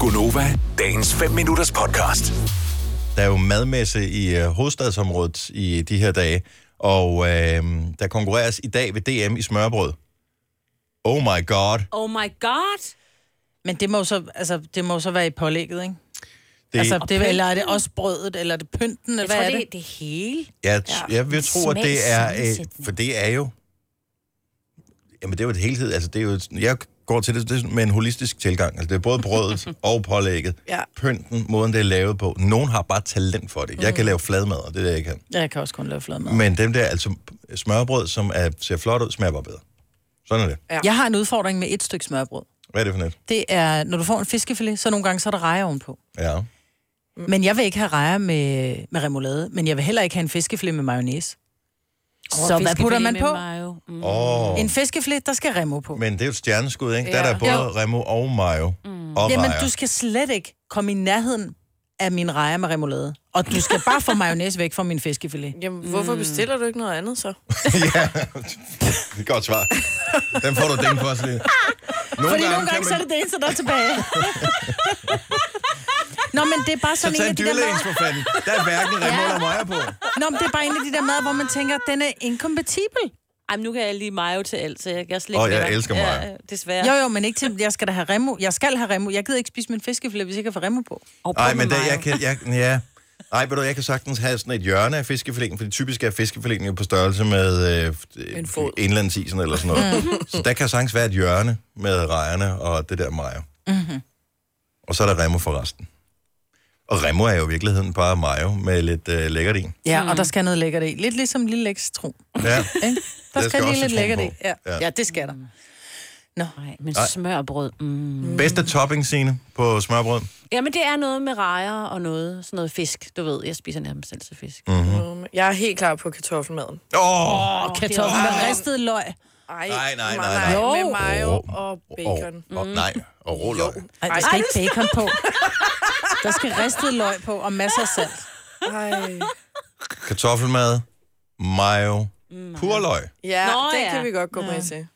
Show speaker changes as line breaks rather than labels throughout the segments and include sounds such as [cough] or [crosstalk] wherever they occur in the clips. Gunova, dagens 5 minutters podcast.
Der er jo madmesse i øh, hovedstadsområdet i de her dage, og øh, der konkurreres i dag ved DM i smørbrød. Oh my god.
Oh my god.
Men det må jo så, altså, det må jo så være i pålægget, ikke?
Det,
altså,
altså,
det, eller er det også brødet, eller er det pynten, eller
Jeg
hvad
tror,
er
det,
det?
er det hele.
jeg, t- jeg vil tro, at det er... Øh, for det er jo... Jamen, det er jo et helhed. Altså, det er jo et, jeg går til det, det er sådan med en holistisk tilgang. Altså, det er både
[laughs]
brødet og pålægget.
Ja.
Pynten, måden det er lavet på. Nogen har bare talent for det. Jeg
Mm.
kan lave fladmad, og det er det, jeg kan.
Ja, jeg kan også kun lave fladmad.
Men dem der, altså smørbrød, som er, ser flot ud, smager bare bedre. Sådan er det.
Ja. Jeg har en udfordring med et stykke smørbrød.
Hvad er det for net?
Det er, når du får en fiskefilet, så nogle gange så er der rejer ovenpå.
Ja.
Mm. Men jeg vil ikke have rejer med, med remoulade, men jeg vil heller ikke have en fiskefilet med mayonnaise. Oh, så hvad putter man på?
Mm.
Åh, oh,
En fiskefilet, der skal remo på.
men det er jo et stjerneskud, ikke? Ja. Der er der både
Jo.
Remo og Mayo mm. og
Jamen,
Maja.
du skal slet ikke komme i nærheden af min rejer med remoulade. Og du skal bare få mayonnaise væk fra min fiskefilet.
Jamen, hvorfor bestiller du ikke noget andet så?
[laughs] ja, det er et godt svar. Den får du den for os lige. Nogle
Fordi nogle gange, så er
man...
det det eneste, der er [laughs] tilbage. Nå, men det er bare
Så
sådan
tag
en af
en
de der
dyrlægens
mad...
for fanden. Der er hverken Remo eller Maja på.
Nå, men det er bare en af de der mad, hvor man tænker, den er inkompatibel.
Ej, men nu kan jeg lige mayo til alt, så jeg kan slet ikke...
Åh, jeg
lade være.
elsker mayo.
Ja, desværre.
Jo, jo, men ikke til, jeg skal da have remo. Jeg skal have remo. Jeg gider ikke spise min fiskefilet, hvis jeg ikke får remo på.
Og prøv
Nej,
med
men der,
mayo.
jeg kan... Jeg, ja. Nej, ved du, jeg kan sagtens have sådan et hjørne af fiskefileten, fordi typisk er fiskefileten jo på størrelse med øh,
En fod. Mhm.
indlandsisen eller sådan noget. så der kan sagtens være et hjørne med rejerne og det der mayo. Mm-hmm.
Mhm.
Og så er der Remo for resten. Og Remo er jo i virkeligheden bare mayo med lidt øh, lækkert i.
Ja, mm. og der skal noget lækkert i. Lidt ligesom en lille lækker citron. [laughs]
Ja.
Ikke? Der
skal
skal, skal
også
lige lidt
citron
lækkert i.
på.
Ja.
Ja.
Ja. ja, det skal der.
Nej, men smørbrød. Mm.
Mhm.
Bedste topping, Signe, på smørbrød.
Jamen, det er noget med rejer og noget, sådan noget fisk. Du ved, jeg spiser nærmest selv til fisk. Mm.
Mm. Jeg er helt klar på kartoffelmaden.
Åh! Oh.
Og kartofler med ristet løg.
Ej,
Nej, nej, nej,
nej.
nej.
Med mayo
Jo.
og bacon. Mm.
Og, og, nej, og råløg.
Ej, der skal ikke bacon [laughs] på. Der skal ristet løg på og masser af salt.
Ej.
Kartoffelmad, mayo,
Mm.
purløg.
Ja,
Nå,
det
ja.
kan vi godt gå med til.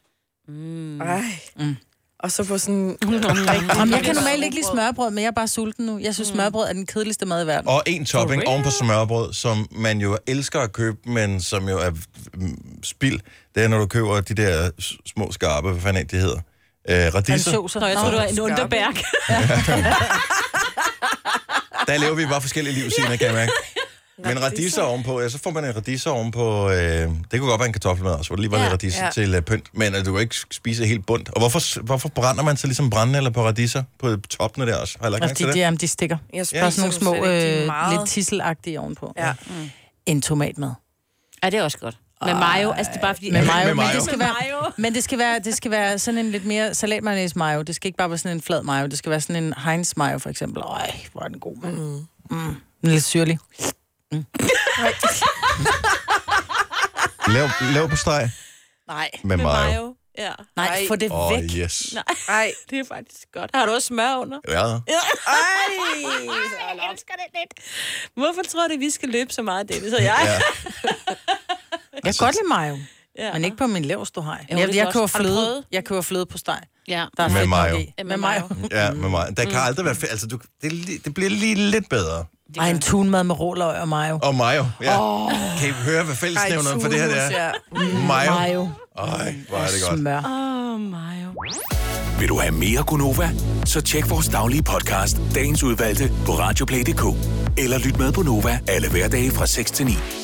Mm. Ej. Og så på sådan...
Jamen, jeg kan normalt ikke lide smørbrød, Mm. men jeg er bare sulten nu. Jeg synes, smørbrød er den kedeligste mad i verden.
Og en topping oven på smørbrød, som man jo elsker at købe, men som jo er mm, spild, det er, når du køber de der s- små skarpe, hvad fanden er det, de hedder? Øh, radisser.
Ansjoser.
Nå, jeg tror, du er en underbærk.
Der lever vi bare forskellige liv, Signe, kan jeg mærke. Men radiser ovenpå, ja, så får man en radiser ovenpå, øh, det kunne godt være en kartoffelmad også, hvor der lige var ja,
Ja,
lidt radiser ja.
ja.
til øh, pynt, men øh, du kan ikke spise helt bundt. Og hvorfor, s- hvorfor brænder man så ligesom brændende eller på radiser på toppene der også? Har jeg lagt mærke
Fordi
til det?
de, jamen, de stikker.
Jeg
Der er sådan nogle
spiser
små,
dem slet ikke. De er
øh,
meget-
lidt tisselagtige ovenpå.
Ja.
En tomatmad.
Ja, det er også godt. Med mayo, altså det er bare fordi...
Med mayo,
med
men
mayo.
det skal
Med
være,
mayo.
men det skal være, det skal være sådan en lidt mere salatmayonnaise mayo. Det skal ikke bare være sådan en flad mayo. Det skal være sådan en Heinz mayo, for eksempel. Øj, hvor er den god, mand. Mm. Mm. Lidt syrlig.
Lav, lav på steg
Nej.
med, med mayo. mayo.
Ja.
Nej, få det
Åh,
væk.
oh, yes.
Nej,
Ej.
det er faktisk godt. Har du også smør under?
Ja.
Ej.
Jeg elsker det lidt. Hvorfor tror du, vi skal løbe så meget, Dennis og jeg?
Ja.
Jeg
Altså,
kan godt lide mayo.
Ja.
Men ikke på min laveste hej.
Jo,
Jeg,
det
jeg,
er
jeg
godt.
køber
Har du
fløde.
prøvet?
Jeg køber fløde på steg.
ja.
Der er
Med
fedt nok
mayo.
i.
Ja,
Med
med
mayo.
mayo.
Ja, med mig. Der kan aldrig være... fe- Altså, du, det, er li- det bliver lige lidt bedre.
Ej, en tunmad med råløg og mayo.
Og mayo. Ja. Oh. Kan I høre, hvad fællesnævneren for det her det
tunhus,
er?
ja.
Mayo.
Mayo.
Ej, hvor er det godt.
Smør.
Åh, oh, mayo.
Vil du have mere Gunova? Så tjek vores daglige podcast, dagens udvalgte, på radioplay.dk. Eller lyt med på Nova alle hverdage fra 6 til 9.